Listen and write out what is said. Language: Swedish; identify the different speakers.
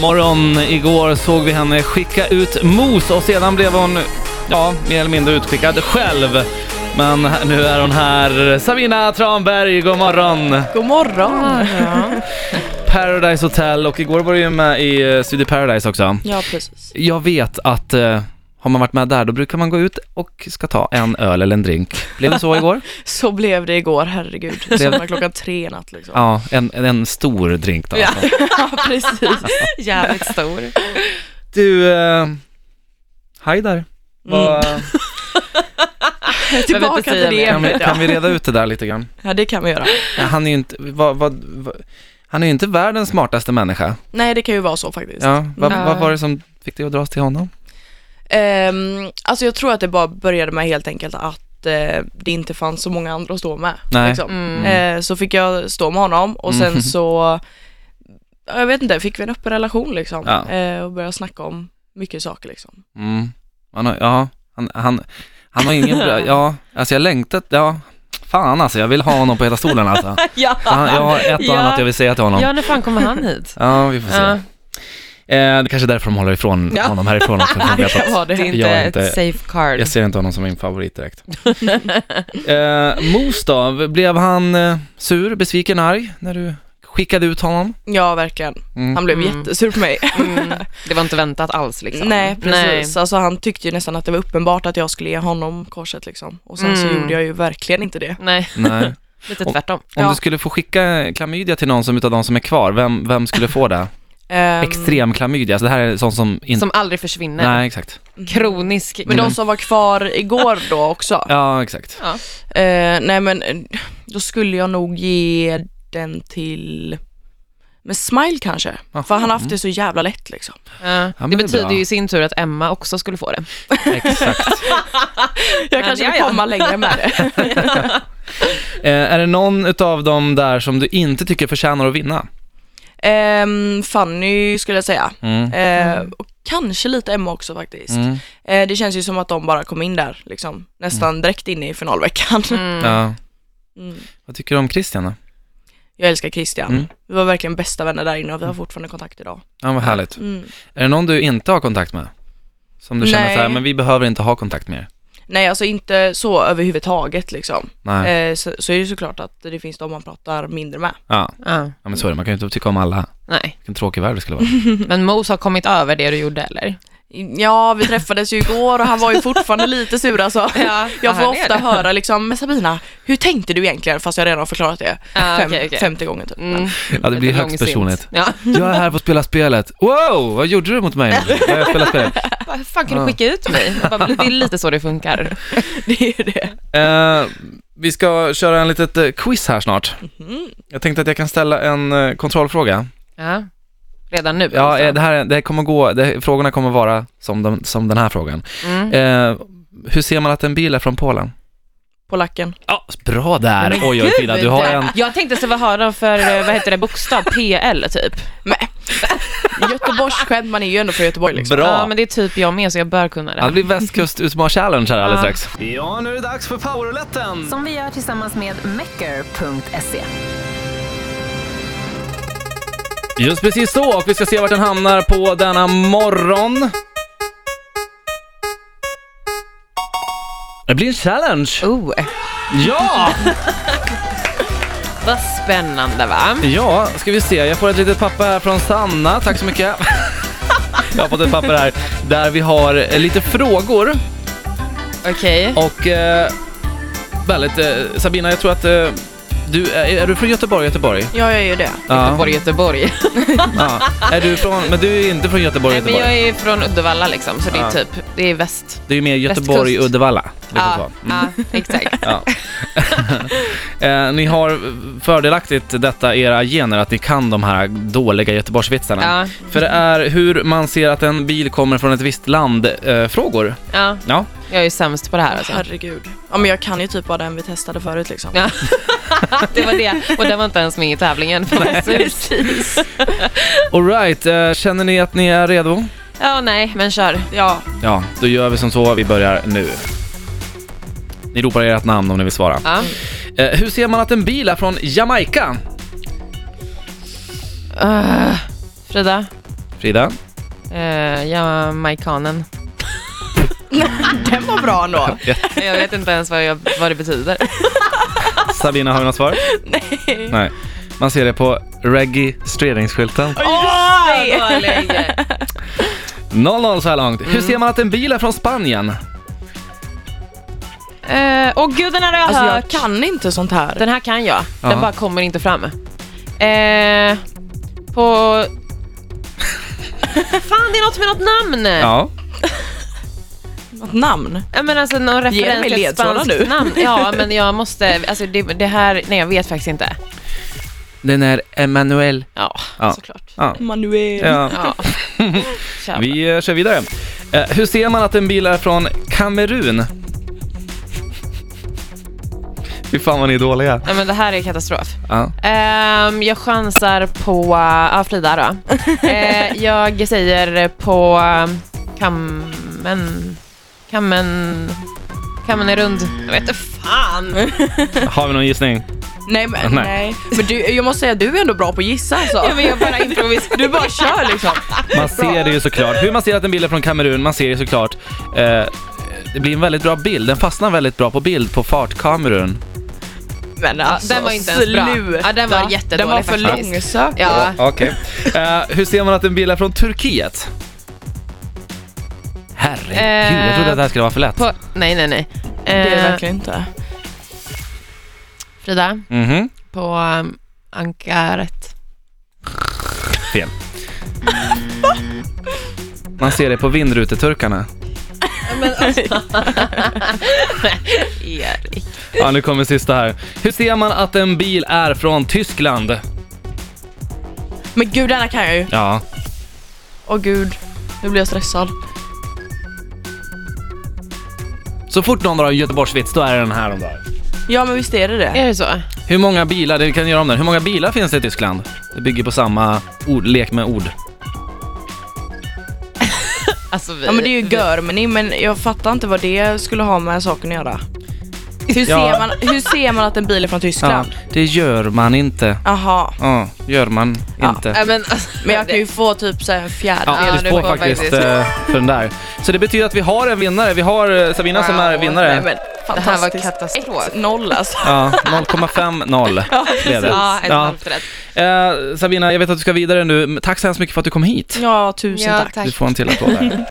Speaker 1: Powermorgon. Igår såg vi henne skicka ut Mos och sedan blev hon, ja, mer eller mindre utskickad själv. Men här- nu är hon här. Sabina Tranberg, god morgon!
Speaker 2: God morgon!
Speaker 1: Paradise Hotel och igår var du ju med i eh, Studio Paradise också.
Speaker 2: Ja, precis.
Speaker 1: Jag vet att eh, har man varit med där då brukar man gå ut och ska ta en öl eller en drink. Blev det så igår?
Speaker 2: Så blev det igår, herregud. Det
Speaker 1: Blev-
Speaker 2: var klockan tre i natt liksom.
Speaker 1: Ja, en, en stor drink då.
Speaker 2: Ja.
Speaker 1: Alltså.
Speaker 2: Ja, precis. Mm.
Speaker 3: Jävligt stor.
Speaker 1: Du, eh, hej där.
Speaker 2: Mm.
Speaker 1: Vad-
Speaker 3: behöver
Speaker 2: Tillbaka
Speaker 3: inte
Speaker 2: till
Speaker 3: säga
Speaker 2: det
Speaker 3: mer.
Speaker 1: Kan, vi,
Speaker 2: ämnet.
Speaker 1: kan vi
Speaker 2: Ja.
Speaker 1: reda ut det där lite grann?
Speaker 2: ja, det kan vi göra.
Speaker 1: Ja, Han är ju inte, vad, vad, vad, han är ju inte världens smartaste människa.
Speaker 2: Nej, det kan ju vara så faktiskt.
Speaker 1: Ja, vad,
Speaker 3: Ja.
Speaker 1: vad var det som fick dig att dras till honom?
Speaker 2: Ehm, alltså jag tror att det bara började med helt enkelt att eh, det inte fanns så många andra att stå med.
Speaker 1: Nej.
Speaker 2: Liksom.
Speaker 3: Mm.
Speaker 2: Eh, så fick jag stå med honom och sen
Speaker 1: Mm.
Speaker 2: så, ja, jag vet inte, fick vi en öppen relation liksom.
Speaker 1: Ja.
Speaker 2: Eh, och började snacka om mycket saker liksom.
Speaker 1: Mm. Han har, ja, han, han, han har ingen bra, ja, alltså jag längtat, ja, fan alltså, jag vill ha honom på hela stolen alltså.
Speaker 3: Ja.
Speaker 1: Han, jag har ett och
Speaker 3: Ja.
Speaker 1: annat jag vill säga till honom.
Speaker 3: ja, när fan kommer han hit?
Speaker 1: Ja, vi får se.
Speaker 3: Ja,
Speaker 1: Eh, det kanske är därför de håller ifrån
Speaker 3: Ja.
Speaker 1: honom härifrån också. för de vet att-
Speaker 2: Vad
Speaker 3: det är
Speaker 2: det?
Speaker 3: inte
Speaker 1: Jag är inte-
Speaker 3: ett safe card.
Speaker 1: Jag ser inte honom som min favorit direkt. eh, Mos då, blev han eh, sur, besviken, arg när du skickade ut honom?
Speaker 2: Ja, verkligen.
Speaker 1: Mm.
Speaker 2: Han blev
Speaker 3: Mm.
Speaker 2: jättesur på mig.
Speaker 3: Mm. Det var inte väntat alls liksom.
Speaker 2: Nej precis, alltså han tyckte ju nästan att det var uppenbart att jag skulle ge honom korset liksom. Och sen så
Speaker 3: Mm.
Speaker 2: gjorde jag ju verkligen inte det.
Speaker 3: Nej,
Speaker 1: Nej.
Speaker 3: lite
Speaker 1: Och-
Speaker 3: tvärtom.
Speaker 1: Om
Speaker 2: Ja.
Speaker 1: du skulle få skicka klamydia till någon som utav de som är kvar, vem, vem skulle få det?
Speaker 2: Ehm,
Speaker 1: Extrem klamydia, alltså det här är sånt som... In...
Speaker 3: Som aldrig försvinner.
Speaker 1: Nej, exakt.
Speaker 3: Kronisk.
Speaker 2: mm. Men de som var kvar igår då också,
Speaker 1: Ja, exakt.
Speaker 3: Ja.
Speaker 2: eh, nej men eh, då skulle jag nog ge den till, men Smile kanske.
Speaker 1: Aha.
Speaker 2: För han har haft det så jävla lätt liksom.
Speaker 3: Ja.
Speaker 1: men det är
Speaker 3: det betyder
Speaker 1: bra.
Speaker 3: ju i sin tur att Emma också skulle få det.
Speaker 1: Mm. exakt.
Speaker 2: Jag kanske
Speaker 3: ja,
Speaker 2: vill
Speaker 3: ja.
Speaker 2: komma längre med det.
Speaker 1: Eh, är det någon utav dem där som du inte tycker förtjänar att vinna?
Speaker 2: Ehm, Fanny skulle jag säga.
Speaker 1: Mm.
Speaker 2: Eh, och kanske lite Emma också faktiskt.
Speaker 1: Mm.
Speaker 2: Eh, det känns ju som att de bara kom in där liksom,
Speaker 1: Mm.
Speaker 2: nästan direkt in i finalveckan.
Speaker 3: Mm.
Speaker 1: Ja.
Speaker 2: Mm.
Speaker 1: Vad tycker du om Christian då?
Speaker 2: Jag älskar Christian.
Speaker 1: Mm.
Speaker 2: Vi var verkligen bästa vänner där inne och vi
Speaker 3: Mm.
Speaker 2: har fortfarande kontakt idag.
Speaker 1: Ja, vad härligt.
Speaker 3: Typ.
Speaker 2: Mm.
Speaker 1: Är det någon du inte har kontakt med? Som du känner
Speaker 2: Nej.
Speaker 1: så här, men vi behöver inte ha kontakt mer?
Speaker 2: Nej, alltså inte så överhuvudtaget liksom.
Speaker 1: Nej.
Speaker 2: Eh, så, så är det ju såklart att det finns de man pratar mindre med.
Speaker 1: Ja.
Speaker 3: Ja.
Speaker 1: ja, men så är det. Man kan ju inte tycka om alla.
Speaker 3: Nej,
Speaker 1: Vilken tråkig värld det skulle vara.
Speaker 3: men Mos har kommit över det du gjorde eller?
Speaker 2: Ja, vi träffades ju igår och han var ju fortfarande lite sur alltså.
Speaker 3: Ja,
Speaker 2: Jag får
Speaker 3: han är
Speaker 2: ofta
Speaker 3: det.
Speaker 2: höra liksom, men Sabina, hur tänkte du egentligen? Fast jag redan har förklarat det
Speaker 3: Ja,
Speaker 2: fem,
Speaker 3: Ah, okej, okej.
Speaker 2: 50 gånger typ. Men-
Speaker 3: Mm.
Speaker 1: Ja, det blir
Speaker 3: Lite
Speaker 1: högst
Speaker 3: långsint.
Speaker 1: personligt.
Speaker 3: Ja.
Speaker 1: Jag är här för att spela spelet. Wow, vad gjorde du mot mig? Jag spelar spelet.
Speaker 3: Bara, Hur fan kan
Speaker 1: Ja.
Speaker 3: du skicka ut mig? Jag Bara, det är lite så det funkar.
Speaker 2: Det är ju det.
Speaker 1: Eh, vi ska köra en litet eh, quiz här snart.
Speaker 2: Mhm.
Speaker 1: Jag tänkte att jag kan ställa en eh, kontrollfråga.
Speaker 3: Ja. Redan nu?
Speaker 1: Ja,
Speaker 3: alltså.
Speaker 1: eh, det här det här kommer gå, det, frågorna kommer vara som, de, som den här frågan.
Speaker 3: Mm.
Speaker 1: Eh, hur ser man att en bil är från Polen?
Speaker 2: Polacken.
Speaker 1: Ja, bra där! Oj, oj, Frida, du har en...
Speaker 3: Jag tänkte så vad har de för, eh, vad heter det, bokstav? PL typ?
Speaker 2: Göteborgsskämt, man är ju ändå från Göteborg liksom.
Speaker 1: Bra!
Speaker 3: Ja, men det är typ jag med så jag bör kunna
Speaker 1: Ja, det
Speaker 3: det.
Speaker 1: blir västkustutmanar-challenge här alldeles
Speaker 3: Ja.
Speaker 1: strax. Ja, nu är det dags för powerletten.
Speaker 4: Som vi gör tillsammans med Maker.se.
Speaker 1: Just precis så, och vi ska se vart den hamnar på denna morgon. Det blir en challenge!
Speaker 3: Oh,
Speaker 1: Ja!
Speaker 3: vad spännande va?
Speaker 1: Ja, ska vi se. Jag får ett litet papper här från Sanna. Tack så mycket. Jag har fått ett papper här där vi har eh, lite frågor
Speaker 3: Okej.
Speaker 1: och eh, väldigt... Eh, Sabina, jag tror att eh, du... Är, är du från Göteborg, Göteborg?
Speaker 2: Ja, jag är ju det.
Speaker 3: Göteborg, Göteborg.
Speaker 1: Ja. Är du från, men du är inte från Göteborg,
Speaker 3: Nej, men
Speaker 1: Göteborg.
Speaker 3: jag är från Uddevalla liksom, så det
Speaker 1: Ja.
Speaker 3: är typ, det är väst.
Speaker 1: Det är ju mer Göteborg,
Speaker 3: Västkust.
Speaker 1: Uddevalla. lite
Speaker 3: Ja,
Speaker 1: så. Mm.
Speaker 3: ja, exakt.
Speaker 1: Ja. eh, ni har fördelaktigt detta i era gener att ni kan de här dåliga Göteborgsvitsarna.
Speaker 3: Ja,
Speaker 1: För det är hur man ser att en bil kommer från ett visst land eh, frågor.
Speaker 3: ja.
Speaker 1: Ja.
Speaker 3: Jag är ju sämst på det här alltså.
Speaker 2: Herregud. Ja men jag kan ju typ bara den vi testade förut liksom.
Speaker 3: Ja. Det var det, och den var inte ens med i tävlingen. Fan, vad surt.
Speaker 2: Precis.
Speaker 1: Alright, eh, känner ni att ni är redo?
Speaker 3: Ja, nej, men kör.
Speaker 2: Ja,
Speaker 1: Ja, då gör vi som så. Vi börjar nu. Ni ropar ert namn om ni vill svara.
Speaker 3: Ja.
Speaker 1: Eh, hur ser man att en bil är från Jamaica?
Speaker 3: Mm. Öh, Frida,
Speaker 1: Frida?
Speaker 3: Eh, ja, Maikanen.
Speaker 2: Den var bra ändå.
Speaker 3: Jag vet inte ens vad, jag, vad det betyder.
Speaker 1: Sabina, har vi något svar?
Speaker 2: Nej.
Speaker 1: Nej. Man ser det på registreringsskylten.
Speaker 2: Oj!
Speaker 3: Vad dålig.
Speaker 1: 0-0 så här långt. Hur ser man att en bil är från Spanien?
Speaker 3: Eh, Åh gud, den här har jag
Speaker 2: Alltså jag
Speaker 3: hört.
Speaker 2: kan inte sånt här.
Speaker 3: Den här kan jag. Den
Speaker 1: Ja.
Speaker 3: bara kommer inte fram. Eh, på... Fan, det är något med något namn.
Speaker 1: Ja.
Speaker 2: Något namn?
Speaker 3: Ja, men alltså någon
Speaker 2: mig
Speaker 3: referens till ett
Speaker 2: ledtrådar
Speaker 3: spanskt
Speaker 2: nu.
Speaker 3: namn. Ja, men jag måste... Alltså det, det här... Nej, jag vet faktiskt inte.
Speaker 1: Den är Emmanuel.
Speaker 3: Ja,
Speaker 1: Ja.
Speaker 3: såklart.
Speaker 1: Ja.
Speaker 2: Manuel.
Speaker 1: Ja.
Speaker 3: Ja. Kör.
Speaker 1: Vi eh, kör vidare. Eh, Hur ser man att en bil är från Kamerun? Fy fan vad ni är dåliga.
Speaker 3: Nej, men det här är katastrof.
Speaker 1: Ja.
Speaker 3: Ehm, jag chansar på... Ja, Frida då. Eh, jag säger på... ehm, Kammen... Kammen... Kammen är rund. Jag vet inte fan.
Speaker 1: Har vi någon gissning?
Speaker 2: Nej men
Speaker 1: Nej.
Speaker 2: nej. Men du, jag måste säga du är ändå bra på att gissa alltså.
Speaker 3: Ja, men jag bara improviserar.
Speaker 2: Du bara kör liksom.
Speaker 1: Man ser det ju såklart. Hur man ser att en bild är från Kamerun, man ser ju såklart. Eh, det blir en väldigt bra bild. Den fastnar väldigt bra på bild på fartkamerun.
Speaker 2: Men alltså,
Speaker 3: den var inte ens bra.
Speaker 2: sluta.
Speaker 3: Ja, den var jättedålig
Speaker 2: Den var för
Speaker 3: faktiskt.
Speaker 2: långsökt.
Speaker 3: Ja.
Speaker 1: Okej. Eh, hur ser man att en bild är från Turkiet? Herregud, jag trodde att det här skulle vara för lätt.
Speaker 3: Eh, På, nej, nej, nej.
Speaker 2: Det är det
Speaker 3: Eh,
Speaker 2: verkligen inte.
Speaker 3: Frida,
Speaker 1: Mhm,
Speaker 3: på um, ankaret.
Speaker 1: fel. Man ser det på vindruteturkarna.
Speaker 3: Erik.
Speaker 1: Ja, nu kommer sista här. Hur ser man att en bil är från Tyskland?
Speaker 2: Men gud den här kan jag ju.
Speaker 1: Ja,
Speaker 2: Åh gud, nu blir jag stressad.
Speaker 1: så fort någon drar en Göteborgsvits, då är det den här de drar.
Speaker 2: Ja men visst är det det.
Speaker 3: Är det så?
Speaker 1: Hur många bilar, det kan vi göra om den, hur många bilar finns det i Tyskland? Det bygger på samma ord, lek med ord.
Speaker 3: Alltså, vi,
Speaker 2: Ja men det är ju Görmany men jag fattar inte vad det skulle ha med saken att göra. Hur ser,
Speaker 1: Ja.
Speaker 2: man, hur ser man att en bil är från
Speaker 1: Ja,
Speaker 2: Tyskland?
Speaker 1: det gör man inte.
Speaker 2: Jaha,
Speaker 1: Ja, gör man
Speaker 2: Ja,
Speaker 1: inte.
Speaker 3: Ja, men, alltså,
Speaker 2: men jag kan ju få typ så här en fjärdedel.
Speaker 1: Ja,
Speaker 3: ja,
Speaker 1: du
Speaker 3: du
Speaker 1: får
Speaker 3: får
Speaker 1: faktiskt
Speaker 3: faktiskt.
Speaker 1: eh, för den där. Så det betyder att vi har en vinnare. Vi har eh, Sabina som är
Speaker 3: Wow.
Speaker 2: Nej,
Speaker 1: vinnare.
Speaker 2: men,
Speaker 3: Det här var
Speaker 2: fantastiskt.
Speaker 3: katastrof.
Speaker 2: 1-0 alltså.
Speaker 1: Ja, 0,50 blev det.
Speaker 3: Ja, ett
Speaker 1: Ja.
Speaker 3: halvt rätt.
Speaker 1: Eh, Sabina, jag vet att du ska vidare nu. men Tack så hemskt mycket för att du kom hit.
Speaker 2: Ja, tusen
Speaker 3: Ja,
Speaker 2: tack.
Speaker 3: tack.
Speaker 1: Du får en till applåd där.